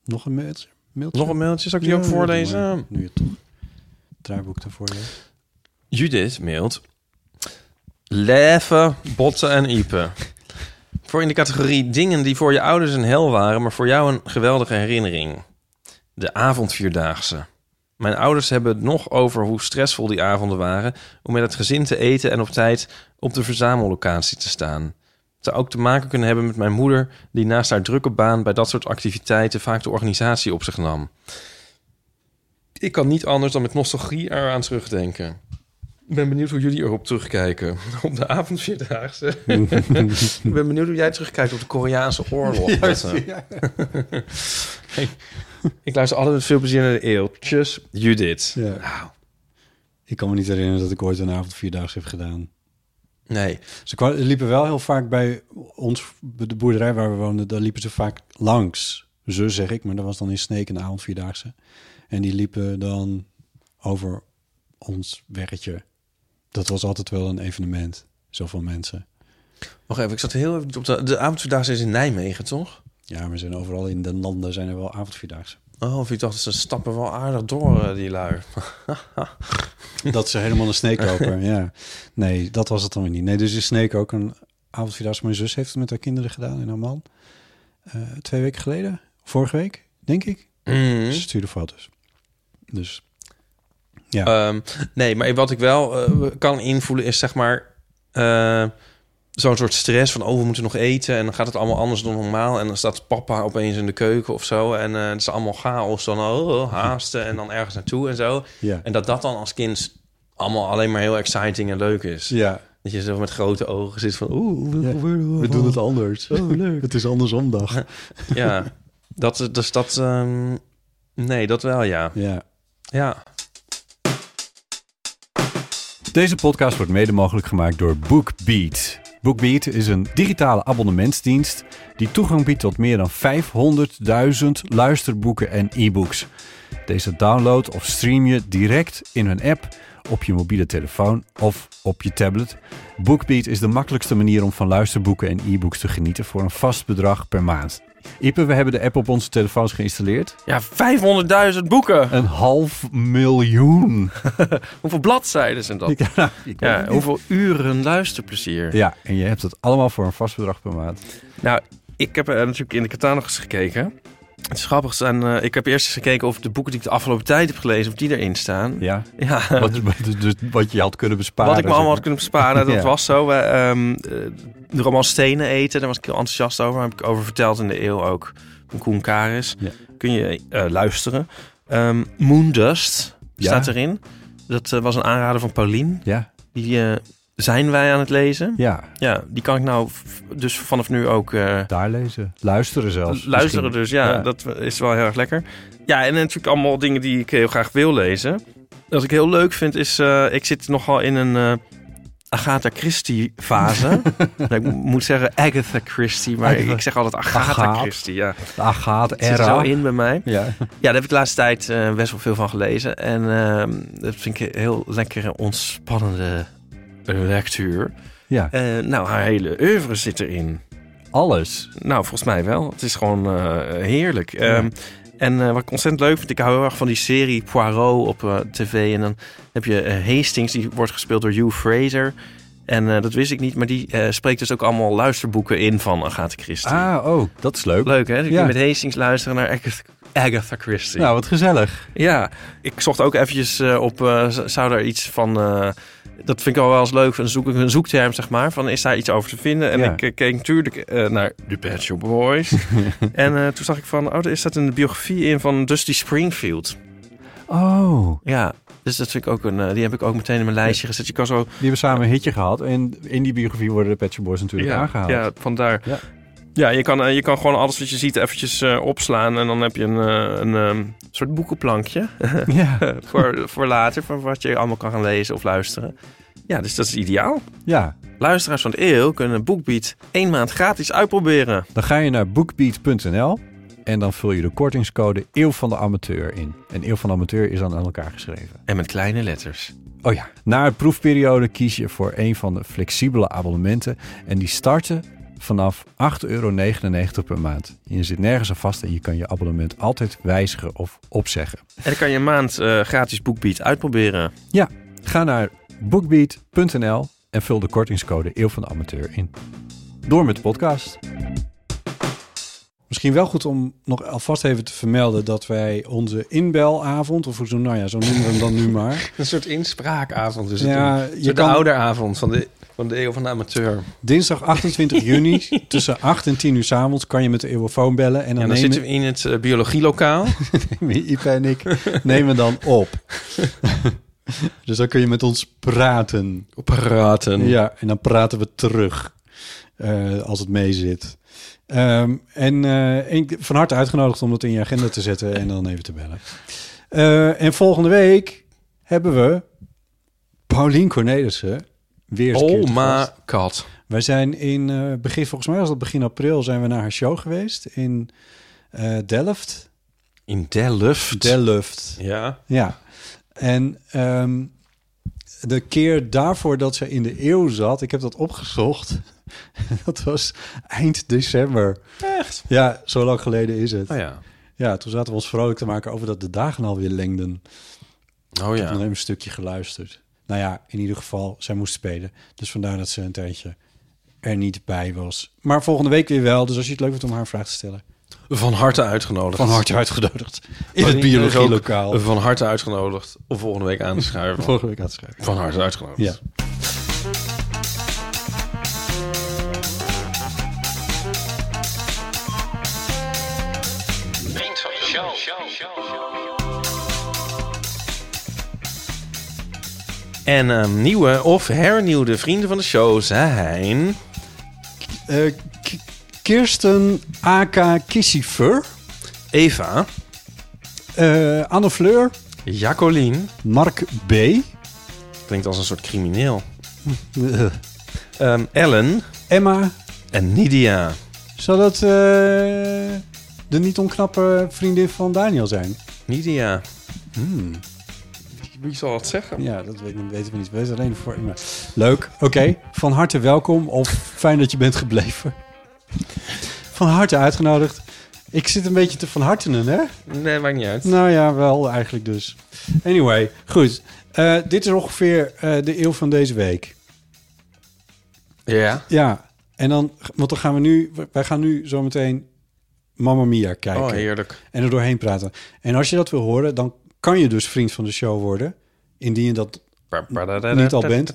S2: Nog een mailtje? mailtje?
S3: Nog een mailtje, zal ik die ook
S2: Ja, doe maar.
S3: voorlezen?
S2: Nu je toch het draaiboek ervoor leest.
S3: Judith mailt. Leven, botten en iepen. Voor in de categorie dingen die voor je ouders een hel waren, maar voor jou een geweldige herinnering. De avondvierdaagse. Mijn ouders hebben het nog over hoe stressvol die avonden waren om met het gezin te eten en op tijd op de verzamellocatie te staan. Het zou ook te maken kunnen hebben met mijn moeder, die naast haar drukke baan bij dat soort activiteiten vaak de organisatie op zich nam. Ik kan niet anders dan met nostalgie eraan terugdenken. Ik ben benieuwd hoe jullie erop terugkijken. Op de avondvierdaagse. ik ben benieuwd hoe jij terugkijkt op de Koreaanse oorlog. Botte. Hey, ik luister altijd met veel plezier naar de eeuw. Tjus, Judith.
S2: Ja.
S3: Nou,
S2: Ik kan me niet herinneren dat ik ooit een avond vierdaags heb gedaan.
S3: nee.
S2: Ze kwa- liepen wel heel vaak bij ons, bij de boerderij waar we woonden, daar liepen ze vaak langs. Ze zeg ik, maar dat was dan in Sneek een avond vierdaagse. En die liepen dan over ons weggetje. Dat was altijd wel een evenement. Zoveel mensen.
S3: Wacht even, ik zat heel even niet op de... De avondvierdaagse is in Nijmegen, toch?
S2: Ja, maar zijn overal in de landen zijn er wel avondvierdaagse.
S3: Oh, of ik dacht, ze stappen wel aardig door, eh, die lui.
S2: Dat ze helemaal een Sneek lopen, ja. Nee, dat was het dan weer niet. Nee, dus in Sneek ook een avondvierdaagse. Mijn zus heeft het met haar kinderen gedaan en haar man. Eh, twee weken geleden, vorige week, denk ik.
S4: Hm?
S2: Ze stuurde foto's. Dus
S3: Ehm, nee, maar wat ik wel eh, kan invoelen is zeg maar... eh,
S4: zo'n soort stress van... oh, we moeten nog eten en dan gaat het allemaal anders dan normaal... en dan staat papa opeens in de keuken of zo... en eh, het is allemaal chaos, dan oh, oh, haasten en dan ergens naartoe en zo.
S2: Ja.
S4: En dat dat dan als kind allemaal alleen maar heel exciting en leuk is.
S2: Ja,
S4: Dat je zo met grote ogen zit van... oeh,
S2: Ja, we doen het anders.
S4: Oh, leuk.
S2: Het is andersom dag.
S4: Ja, dat, dus dat... ehm, nee, dat wel, ja.
S2: Ja.
S4: Ja.
S2: Deze podcast wordt mede mogelijk gemaakt door BookBeat. BookBeat is een digitale abonnementsdienst die toegang biedt tot meer dan 500.000 luisterboeken en e-books. Deze download of stream je direct in hun app op je mobiele telefoon of op je tablet. BookBeat is de makkelijkste manier om van luisterboeken en e-books te genieten voor een vast bedrag per maand. Ipe, we hebben de app op onze telefoons geïnstalleerd.
S3: Ja, 500.000 boeken.
S2: Een half miljoen.
S3: Hoeveel bladzijden zijn dat?
S2: Ja,
S3: Ja, hoeveel uren luisterplezier.
S2: Ja, en je hebt het allemaal voor een vast bedrag per maand.
S3: Nou, ik heb eh, natuurlijk in de catalogus gekeken. Het is grappig, zijn, eh, ik heb eerst eens gekeken of de boeken die ik de afgelopen tijd heb gelezen, of die erin staan.
S2: Ja.
S3: Ja,
S2: Wat, dus, dus wat je had kunnen besparen.
S3: Wat ik me allemaal had
S2: zeg
S3: kunnen besparen, dat
S2: Ja.
S3: was zo. We, ehm, eh, de roman Stenen eten, daar was ik heel enthousiast over. Daar heb ik over verteld in de eeuw ook. Van Koen Karis.
S2: Ja.
S3: Kun je eh, luisteren. Ehm Moondust
S2: Ja.
S3: staat erin. Dat eh, was een aanrader van Paulien.
S2: maar. Ja,
S3: Die eh, zijn wij aan het lezen.
S2: ja,
S3: Ja, die kan ik nou v- dus vanaf nu ook eh,
S2: daar lezen. Luisteren zelfs.
S3: luisteren.
S2: misschien.
S3: Dus ja,
S2: Ja.
S3: dat is wel heel erg lekker. Ja, en natuurlijk allemaal dingen die ik heel graag wil lezen. Wat ik heel leuk vind is, eh, ik zit nogal in een eh, Agatha Christie fase. Nou, ik mo- moet zeggen Agatha Christie, maar
S2: Agatha.
S3: ik zeg altijd Agatha
S2: Agaat.
S3: Christie. Ja.
S2: De Agaat,
S3: Het dus. zit er
S2: Era.
S3: zo in bij mij.
S2: Ah, Ja.
S3: Ja, daar heb ik de laatste tijd eh, best wel veel van gelezen. En ehm, dat vind ik een heel lekkere, ontspannende eh, lectuur.
S2: ja,
S3: Eh, nou, haar hele oeuvre zit erin.
S2: alles.
S3: Nou, volgens mij wel. Het is gewoon eh, heerlijk. Ehm, en eh, wat ik ontzettend leuk vind, ik hou heel erg van die serie Poirot op eh, tv. En dan heb je eh, Hastings, die wordt gespeeld door Hugh Fraser. En eh, dat wist ik niet, maar die eh, spreekt dus ook allemaal luisterboeken in van Agatha Christie.
S2: Ah, oh, dat is leuk.
S3: Leuk hè? Dus je
S2: Ja.
S3: kunt met Hastings luisteren naar Agatha, Agatha Christie.
S2: Nou, wat gezellig.
S3: Ja, ik zocht ook eventjes eh, op, eh, z- zou daar iets van... eh, dat vind ik al wel eens leuk, een, zoek, een zoekterm zeg maar, van is daar iets over te vinden? En
S2: Ja.
S3: ik eh, keek natuurlijk eh, naar The Pet Shop Boys. en eh, toen zag ik van, oh, er staat een biografie in van Dusty Springfield.
S2: Oh,
S3: Ja, dus dat vind ik ook een, eh, die heb ik ook meteen in mijn lijstje gezet. Je kan zo,
S2: die hebben samen een hitje gehad. En in die biografie worden de Pet Shop Boys natuurlijk aangehaald.
S3: ja, vandaar.
S2: Ja.
S3: Ja. je kan, eh, je kan gewoon alles wat je ziet eventjes eh, opslaan. En dan heb je een, eh, een ehm, soort boekenplankje.
S2: ja.
S3: voor, voor later, van wat je allemaal kan gaan lezen of luisteren. Ja, dus dat is ideaal.
S2: ja.
S3: Luisteraars van de eeuw kunnen BookBeat één maand gratis uitproberen.
S2: Dan ga je naar bookbeat.nl en dan vul je de kortingscode Eeuw van de Amateur in. En Eeuw van de Amateur is dan aan elkaar geschreven.
S3: En met kleine letters.
S2: Oh ja. Na een proefperiode kies je voor een van de flexibele abonnementen. En die starten vanaf 8,99 euro per maand. Je zit nergens aan vast en je kan je abonnement altijd wijzigen of opzeggen.
S3: En dan kan je een maand eh, gratis BookBeat uitproberen.
S2: Ga naar bookbeat.nl en vul de kortingscode Eeuw van de Amateur in. Door met de podcast.
S5: Misschien wel goed om nog alvast even te vermelden dat wij onze inbelavond, of hoe zo, nou ja, zo noemen we hem dan nu maar.
S4: Een soort inspraakavond is
S5: Ja,
S4: Je
S5: je
S4: de
S5: kan
S4: ouderavond van de, van de eeuw van de amateur.
S5: dinsdag 28 juni tussen 8 en 10 uur 's avonds kan je met de eeuwofoon bellen en
S4: En
S5: dan,
S4: dan
S5: nemen
S4: zitten we in het eh, biologielokaal.
S5: Ipe en ik nemen dan op. dus dan kun je met ons praten.
S4: Praten.
S5: Ja, en dan praten we terug eh, als het mee zit. Ehm, en, eh, en ik- van harte uitgenodigd om dat in je agenda te zetten en dan even te bellen. Eh, en volgende week hebben we Paulien Cornelissen weer eens een keer te
S4: Oh
S5: gast.
S4: my god.
S5: Wij zijn in eh, begin, volgens mij was dat begin april, zijn we naar haar show geweest in eh, Delft.
S4: In Delft.
S5: Delft.
S4: Ja.
S5: Ja. En ehm, de keer daarvoor dat ze in de eeuw zat, ik heb dat opgezocht. dat was eind december.
S4: Echt?
S5: Ja, zo lang geleden is het.
S4: Oh ja.
S5: Ja, toen zaten we ons vrolijk te maken over dat de dagen alweer lengden.
S4: Oh
S5: Ik heb
S4: ja.
S5: nog even een stukje geluisterd. Nou ja, in ieder geval, zij moest spelen. Dus vandaar dat ze een tijdje er niet bij was. Maar volgende week weer wel. Dus als je het leuk vindt om haar een vraag te stellen.
S4: Van harte uitgenodigd.
S5: Van harte uitgenodigd. In
S4: Paulien
S5: het
S4: is ook
S5: biologielokaal.
S4: Van harte uitgenodigd om volgende week aan te schuiven.
S5: Volgende week aan het schrijven.
S4: Van harte uitgenodigd.
S5: Ja.
S3: En ehm, nieuwe of hernieuwde vrienden van de show zijn...
S2: Eh, K- Kirsten A.K. Kissifer.
S3: Eva,
S2: eh, Anne Fleur.
S3: Jacqueline,
S2: Mark B.
S3: klinkt als een soort crimineel. Ehm, Ellen
S2: Emma.
S3: en Nidia.
S2: Zou dat eh, de niet onknappe vriendin van Daniel zijn?
S3: Nidia.
S2: Hmm.
S3: Wie zal dat zeggen?
S2: Ja, dat weet, weten we niet. We weten alleen voor Emma. Leuk. Oké. Van harte welkom. Of fijn dat je bent gebleven. Van harte uitgenodigd. Ik zit een beetje te van hartenen, hè?
S3: Nee, maakt niet uit.
S2: Nou ja, wel eigenlijk dus. Anyway, goed. Eh, dit is ongeveer eh, de eeuw van deze week.
S3: Ja.
S2: Ja, en dan, want dan gaan we nu, wij gaan nu zometeen Mamma Mia kijken
S3: Oh, heerlijk.
S2: en er doorheen praten. En als je dat wil horen, dan kan je dus vriend van de show worden, indien je dat niet al bent.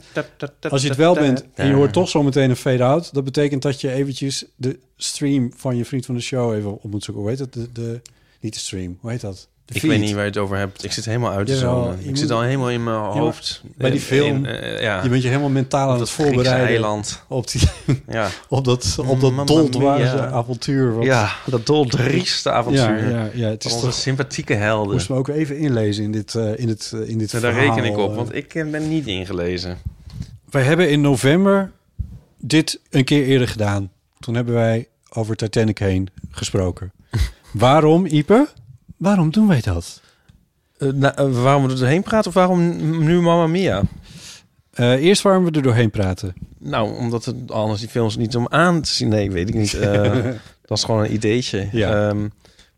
S2: Als je het wel bent en je hoort toch zometeen een fade-out, dat betekent dat je eventjes de stream van je vriend van de show even op moet zoeken. Hoe heet dat? De, de, niet de stream, hoe heet dat? De
S3: Ik
S2: feed.
S3: weet niet waar je het over hebt. Ik zit helemaal uit de
S2: Jawel,
S3: zone.
S2: je
S3: Ik
S2: moet-
S3: zit al helemaal in mijn hoofd.
S2: bij die
S3: In-
S2: film.
S3: in, eh, ja.
S2: Je bent je helemaal mentaal aan
S3: dat
S2: het
S3: Griekse
S2: voorbereiden
S3: eiland.
S2: op, die,
S3: Ja.
S2: op dat, op dat
S3: Mamma
S2: doldwaze
S3: mia.
S2: avontuur. wat-
S3: ja, dat doldrieste
S2: ja,
S3: avontuur.
S2: ja, ja, het
S3: Van
S2: is
S3: onze
S2: toch
S3: sympathieke helden.
S2: Moest me ook even inlezen in dit, eh, in het, eh, in dit
S3: Nou, daar
S2: verhaal,
S3: reken ik op,
S2: eh.
S3: want ik eh, ben niet ingelezen.
S2: Wij hebben in november dit een keer eerder gedaan. Toen hebben wij over Titanic heen gesproken. waarom, Ipe? Waarom doen wij dat?
S3: Eh, nou, waarom we er doorheen praten of waarom nu Mamma Mia?
S2: Eh, eerst waarom we er doorheen praten.
S3: Nou, omdat het anders die films niet om aan te zien. Nee, weet ik niet. Eh, dat is gewoon een ideetje.
S2: Ja.
S3: Ehm,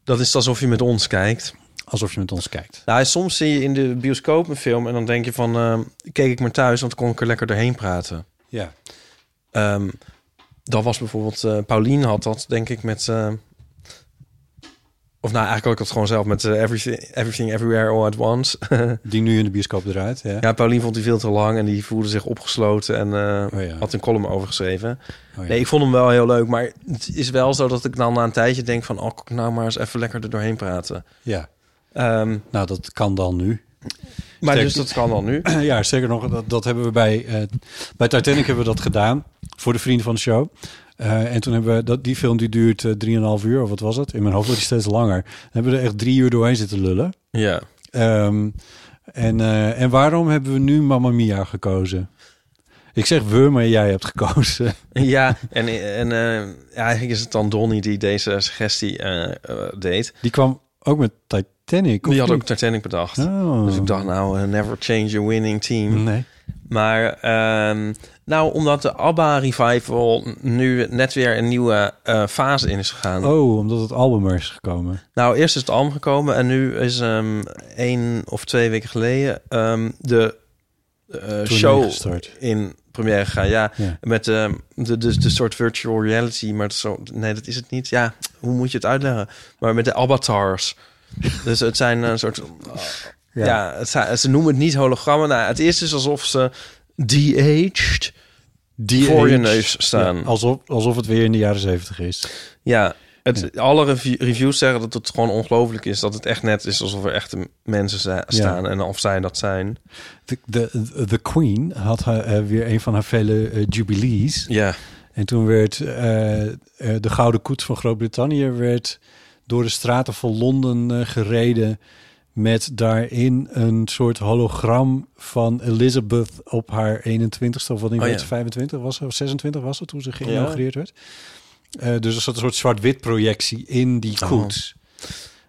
S3: dat is alsof je met ons kijkt.
S2: Alsof je met ons kijkt.
S3: Nou, soms zie je in de bioscoop een film en dan denk je van... ehm, keek ik maar thuis, want dan kon ik er lekker doorheen praten.
S2: Ja.
S3: Ehm, dat was bijvoorbeeld... eh Pauline had dat, denk ik, met... ehm, of nou, eigenlijk had ik dat gewoon zelf met eh, everything, everything Everywhere All At Once.
S2: Die nu in de bioscoop eruit. Ja.
S3: ja, Pauline vond die veel te lang en die voelde zich opgesloten en eh,
S2: Oh ja.
S3: had een column over geschreven.
S2: Oh ja.
S3: Nee, ik vond hem wel heel leuk, maar het is wel zo dat ik dan na een tijdje denk van... oh, kan ik nou maar eens even lekker er doorheen praten.
S2: ja.
S3: Ehm,
S2: Nou, dat kan dan nu.
S3: maar
S2: Sterk-
S3: dus dat kan dan nu.
S2: ja, zeker nog. Dat, dat hebben we bij, eh, bij Titanic hebben we dat gedaan. Voor de vrienden van de show. Eh, en toen hebben we dat, die film die duurt eh, 3,5 uur, of wat was het? In mijn hoofd wordt die steeds langer. Dan hebben we er echt drie uur doorheen zitten lullen.
S3: Ja.
S2: Ehm, en, eh, en waarom hebben we nu Mamma Mia gekozen? Ik zeg we, maar jij hebt gekozen.
S3: Ja, en, en eh, eigenlijk is het dan Donnie die deze suggestie eh, eh, deed.
S2: Die kwam ook met Titanic. of
S3: Die had
S2: niet?
S3: ook Titanic bedacht.
S2: Oh.
S3: Dus ik dacht, nou, eh, never change a winning team.
S2: Nee.
S3: Maar, ehm, nou, omdat de ABBA-revival nu net weer een nieuwe eh, fase in is gegaan.
S2: Oh, omdat het album er is gekomen.
S3: Nou, eerst is het album gekomen en nu is ehm één of twee weken geleden ehm, de eh, show
S2: gestart.
S3: in première gegaan. Ja,
S2: Ja.
S3: met ehm, de, de, de soort virtual reality, maar het is zo, nee, dat is het niet. Ja, hoe moet je het uitleggen? Maar met de avatars. dus het zijn een soort... ja, het zijn- ze noemen het niet hologrammen. Nou, het is dus alsof ze de-aged
S2: Die
S3: voor je
S2: age-
S3: neus staan.
S2: Ja, alsof, alsof het weer in de jaren zeventig is.
S3: Ja, het, alle revi- reviews zeggen dat het gewoon ongelooflijk is. Dat het echt net is alsof er echte mensen za- staan en of zij dat zijn.
S2: De, de, de Queen had haar, eh, weer een van haar vele eh, jubilees.
S3: Ja,
S2: En toen werd eh, eh, de Gouden Koets van Groot-Brittannië werd door de straten van Londen eh, gereden. Met daarin een soort hologram van Elizabeth op haar 21ste, of wat niet
S3: Oh,
S2: werd
S3: ja.
S2: ze 25 was, ze, of 26 was het toen ze geïnaugureerd werd. Eh, dus er zat een soort zwart-wit projectie in die
S3: Oh.
S2: koets.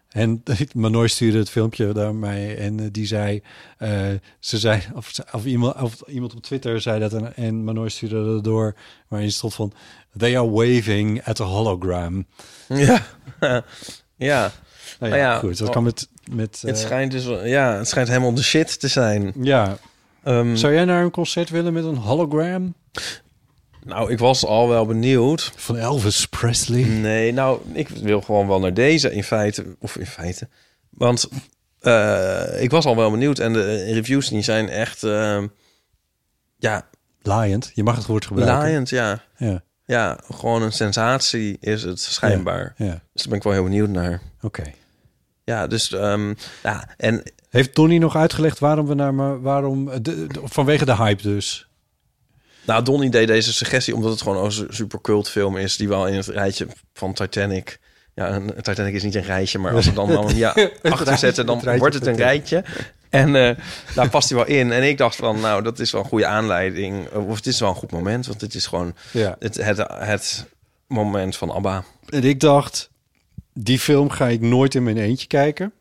S2: En Manoy stuurde het filmpje naar mij en eh, die zei, eh, ze zei of, ze- of, iemand, of iemand op Twitter zei dat en, en Manoy stuurde dat door, waarin stond van, they are waving at a hologram.
S3: ja, ja.
S2: Nou
S3: Nou ja,
S2: goed, dat
S3: oh,
S2: kan met... met
S3: Het
S2: eh,
S3: schijnt dus, wel- ja, het schijnt helemaal de shit te zijn.
S2: ja,
S3: Ehm,
S2: zou jij naar een concert willen met een hologram?
S3: nou, ik was al wel benieuwd.
S2: Van Elvis Presley?
S3: Nee, nou, ik wil gewoon wel naar deze in feite, of in feite, want eh, ik was al wel benieuwd en de reviews die zijn echt, eh, ja,
S2: Liant, je mag het woord gebruiken.
S3: laaiend, ja.
S2: Ja,
S3: Ja, gewoon een sensatie is het schijnbaar.
S2: ja,
S3: Dus daar ben ik wel heel benieuwd naar.
S2: oké.
S3: Ja, dus ehm, ja, en
S2: Heeft Donnie nog uitgelegd waarom we naar me, waarom de, de- vanwege de hype dus?
S3: Nou, Donnie deed deze suggestie omdat het gewoon een super cult film is... die wel in het rijtje van Titanic... Ja, een, Titanic is niet een rijtje, maar als we dan dan ja, achter zetten... dan wordt het een rijtje. En eh, daar past hij wel in. En ik dacht van, nou, dat is wel een goede aanleiding. Of het is wel een goed moment, want dit is gewoon
S2: Ja.
S3: het, het, het moment van ABBA.
S2: En ik dacht, die film ga ik nooit in mijn eentje kijken.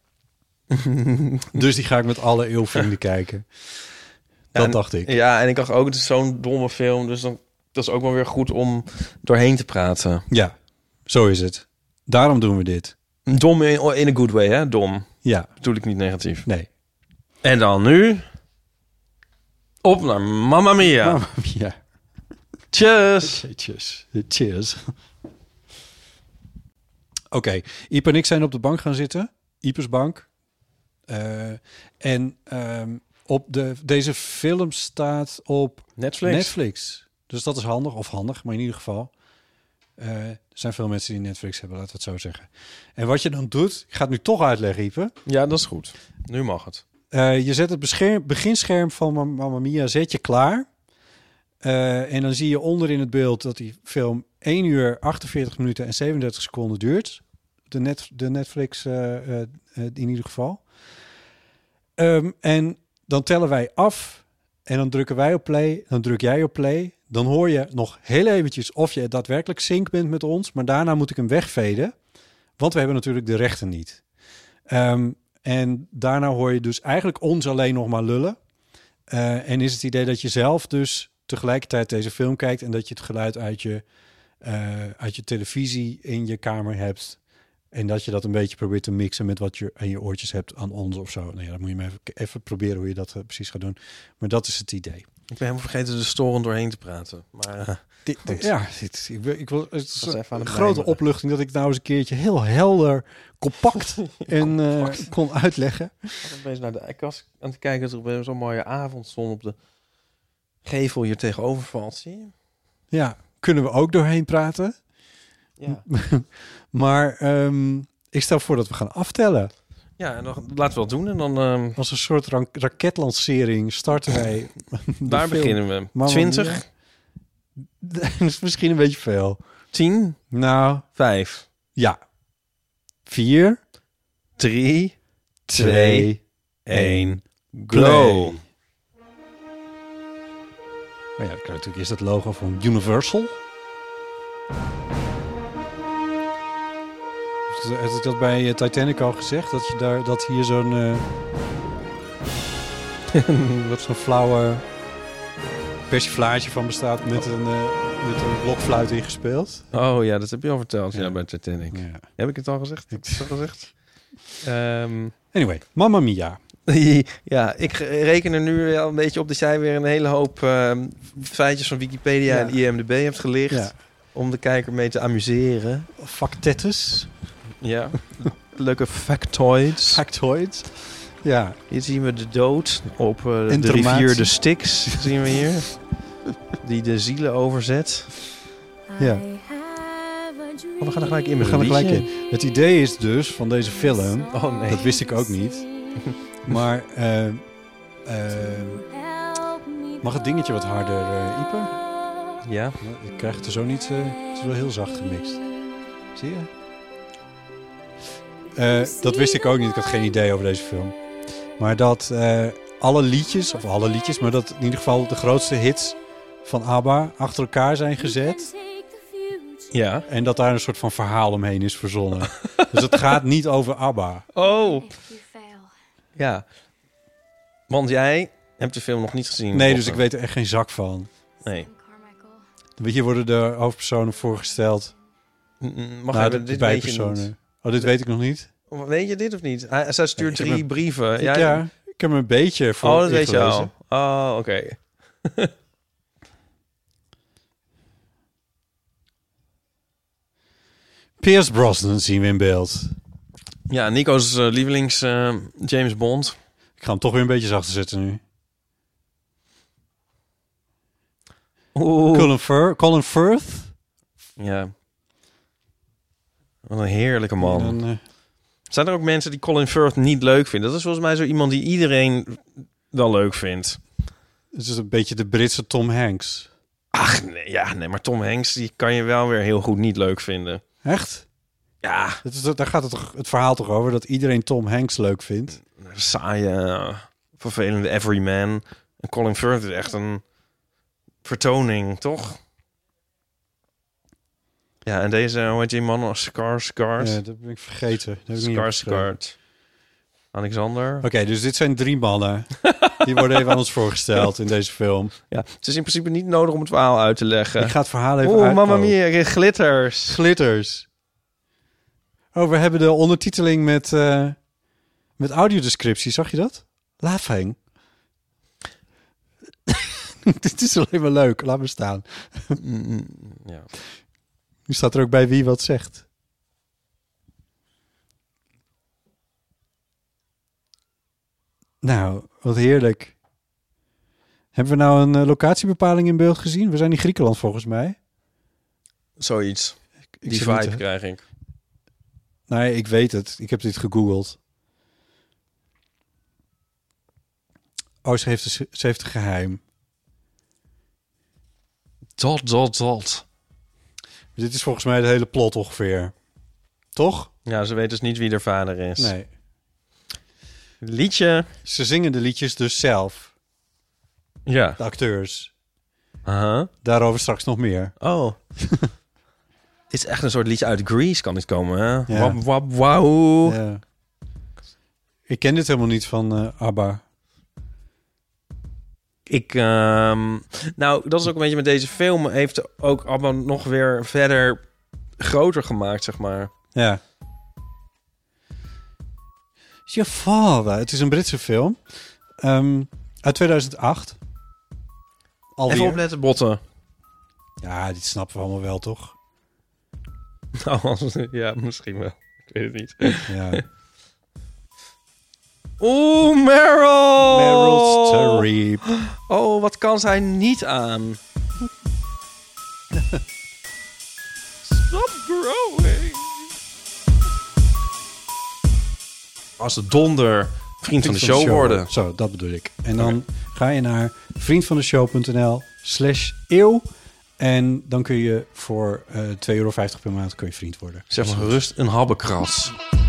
S2: dus die ga ik met alle eeuwvrienden kijken. Dat
S3: En-
S2: dacht ik.
S3: Ja, en ik dacht ook, het is zo'n domme film... dus dan, dat is ook wel weer goed om doorheen te praten.
S2: Ja, zo is het. Daarom doen we dit.
S3: Dom in, in a good way, hè? Dom.
S2: Ja,
S3: Bedoel ik niet negatief.
S2: nee.
S3: En dan nu... Op naar Mamma Mia.
S2: Ah, ja.
S3: Tjus.
S2: Cheers. Cheers. Oké, Iep en ik zijn op de bank gaan zitten. Iepers bank. Eh, en ehm, op de, deze film staat op
S3: Netflix.
S2: Netflix. Dus dat is handig, of handig, maar in ieder geval. eh, er zijn veel mensen die Netflix hebben, laten we het zo zeggen. En wat je dan doet, ik ga het nu toch uitleggen, Ieper.
S3: Ja, dat is goed. Nu mag het.
S2: Eh, je zet het bescherm, beginscherm van Ma- Mamma Mia zet je klaar. Eh, en dan zie je onder in het beeld dat die film 1 uur 48 minuten en 37 seconden duurt. De, net, de Netflix eh, eh, eh, in ieder geval. Ehm, en dan tellen wij af en dan drukken wij op play, dan druk jij op play. Dan hoor je nog heel eventjes of je daadwerkelijk sync bent met ons. Maar daarna moet ik hem wegveden, want we hebben natuurlijk de rechten niet. Ehm, en daarna hoor je dus eigenlijk ons alleen nog maar lullen. Eh, en is het idee dat je zelf dus tegelijkertijd deze film kijkt en dat je het geluid uit je, eh, uit je televisie in je kamer hebt. En dat je dat een beetje probeert te mixen met wat je aan je oortjes hebt aan ons of zo. Nou ja, dan moet je maar even, even proberen hoe je dat eh, precies gaat doen. Maar dat is het idee.
S3: Ik ben helemaal vergeten de storen doorheen te praten. Maar eh, Goed.
S2: Ja, dit, ik, wil- ik wil, het is
S3: was even
S2: een
S3: aan het
S2: grote
S3: mijmeren.
S2: opluchting dat ik nou eens een keertje heel helder, compact en eh, kon uitleggen.
S3: ik was opeens naar de, ik was aan het kijken dat er zo'n mooie avondzon op de gevel hier tegenover valt. Zie je?
S2: Ja, kunnen we ook doorheen praten.
S3: Ja.
S2: Maar ehm, ik stel voor dat we gaan aftellen.
S3: Ja, en dan laten we dat doen. En dan ehm,
S2: Als een soort ran- raketlancering starten wij. de
S3: daar
S2: film.
S3: beginnen we.
S2: Mamma
S3: 20,
S2: Dat is misschien een beetje veel.
S3: 10,
S2: Nou,
S3: 5,
S2: ja. Vier,
S3: 3,
S2: twee.
S3: 1, go.
S2: Maar Oh ja, dan krijg je natuurlijk eerst het logo van Universal. Heb ik dat bij eh, Titanic al gezegd? Dat, je daar, dat hier zo'n... eh, wat zo'n flauwe persiflage van bestaat met een, eh met een blokfluit ingespeeld.
S3: Oh ja, dat heb je al verteld. Ja, bij Titanic.
S2: Ja.
S3: Heb ik het al gezegd? Heb ik het al gezegd? Ehm,
S2: Anyway, Mamma Mia.
S3: ja, ik reken er nu wel een beetje op dat jij weer een hele hoop ehm, feitjes van Wikipedia
S2: Ja.
S3: en IMDb hebt gelicht.
S2: Ja.
S3: Om de kijker mee te amuseren.
S2: Factetus.
S3: Ja. Leuke factoids.
S2: Factoid. Ja.
S3: Hier zien we de dood op eh, de
S2: Intermaat.
S3: rivier de Styx. Zien we hier. Die de zielen overzet.
S2: Ja.
S3: Oh, we gaan er gelijk in
S2: We
S3: met
S2: gaan er
S3: een
S2: gelijk
S3: liedje.
S2: in. Het idee is dus van deze film...
S3: Oh, nee.
S2: Dat wist ik ook niet. Maar eh, eh, Ehm, mag het dingetje wat harder, eh Ipe?
S3: Ja.
S2: Ik krijg het er zo niet. eh, het is wel heel zacht gemixt. Zie je? Eh, dat wist ik ook niet. Ik had geen idee over deze film. Maar dat eh, alle liedjes, of alle liedjes, maar dat in ieder geval de grootste hits van ABBA achter elkaar zijn gezet.
S3: Ja.
S2: En dat daar een soort van verhaal omheen is verzonnen. dus het gaat niet over ABBA.
S3: Oh. Ja. Want jij hebt de film nog niet gezien.
S2: Nee, dus ik
S3: Potter.
S2: weet er echt geen zak van.
S3: Nee.
S2: Hier worden de hoofdpersonen voorgesteld.
S3: Mm, mm, Mag
S2: Nou,
S3: even,
S2: de-
S3: dit
S2: de
S3: weet je niet.
S2: bijpersonen. Oh, dit weet ik nog niet.
S3: Weet je dit of niet? Hij, zij
S2: Ik
S3: stuurt
S2: heb
S3: drie brieven.
S2: Ja,
S3: Ja,
S2: ik heb hem een beetje voor
S3: Oh, dat weet je
S2: ingelezen.
S3: al. Oh, oké.
S2: Pierce Brosnan zien we in beeld.
S3: Ja, Nico's eh, lievelings eh, James Bond.
S2: Ik ga hem toch weer een beetje zachter zetten nu.
S3: Oeh.
S2: Colin, Fir- Colin Firth.
S3: Ja. Wat een heerlijke
S2: En
S3: man.
S2: dan, eh,
S3: Zijn er ook mensen die Colin Firth niet leuk vinden? Dat is volgens mij zo iemand die iedereen wel leuk vindt.
S2: Het is een beetje de Britse Tom Hanks.
S3: Ach, nee, ja, nee, maar Tom Hanks die kan je wel weer heel goed niet leuk vinden.
S2: Echt?
S3: Ja,
S2: Dat is, daar gaat het, toch- het verhaal toch over dat iedereen Tom Hanks leuk vindt.
S3: een saaie, vervelende everyman. En Colin Firth is echt een vertoning, toch? Ja, en deze, hoe heet die man? Oh, Scar, Scar,
S2: Ja, dat ben ik vergeten. Dat heb ik niet
S3: Scar,
S2: opgeschreven.
S3: Scar. Alexander.
S2: Oké, dus dit zijn drie mannen. Die worden even aan ons voorgesteld in deze film.
S3: Ja, het is in principe niet nodig om het verhaal uit te leggen.
S2: Ik ga het verhaal even
S3: Oeh, mamma
S2: uitkomen.
S3: mia, glitters.
S2: Glitters. Oh, we hebben de ondertiteling met, eh met audiodescriptie. Zag je dat? Laughing. Dit is alleen maar leuk. Laat me staan.
S3: Ja.
S2: Nu staat er ook bij wie wat zegt. Nou, wat heerlijk. Hebben we nou een eh, locatiebepaling in beeld gezien? We zijn in Griekenland volgens mij.
S3: Zoiets.
S2: Ik
S3: Die
S2: zit niet
S3: vibe
S2: te-
S3: krijg ik.
S2: Nee, ik weet het. Ik heb dit gegoogeld. Oh, ze heeft, een- ze heeft een geheim.
S3: Dot, dot, dot.
S2: Dit is volgens mij de hele plot ongeveer. Toch?
S3: Ja, ze weet dus niet wie haar vader is.
S2: Nee.
S3: Liedje.
S2: Ze zingen de liedjes dus zelf.
S3: Ja.
S2: De acteurs.
S3: Aha.
S2: Daarover straks nog meer.
S3: Oh. Het is echt een soort liedje uit Greece kan dit komen, hè?
S2: Ja.
S3: Wap, wap, wauw.
S2: Ja. Ik ken dit helemaal niet van eh, ABBA.
S3: Ik, ehm, nou, dat is ook een beetje met deze film. Heeft ook allemaal nog weer verder groter gemaakt, zeg maar.
S2: Ja. Je vader. Het is een Britse film. Ehm, uit 2008. Alweer.
S3: Even opletten, botten.
S2: Ja, dit snappen we allemaal wel, toch?
S3: Nou, ja, misschien wel. Ik weet het niet.
S2: Ja.
S3: Oeh, Meryl!
S2: Meryl Streep.
S3: Oh, wat kan zij niet aan? Stop growing. Als de donder vriend van de show worden.
S2: Zo, dat bedoel ik. En dan ga je naar vriendvandeshow.nl slash eeuw. En dan kun je voor eh 2,50 euro per maand kun je vriend worden.
S3: Zeg maar gerust een habbekras.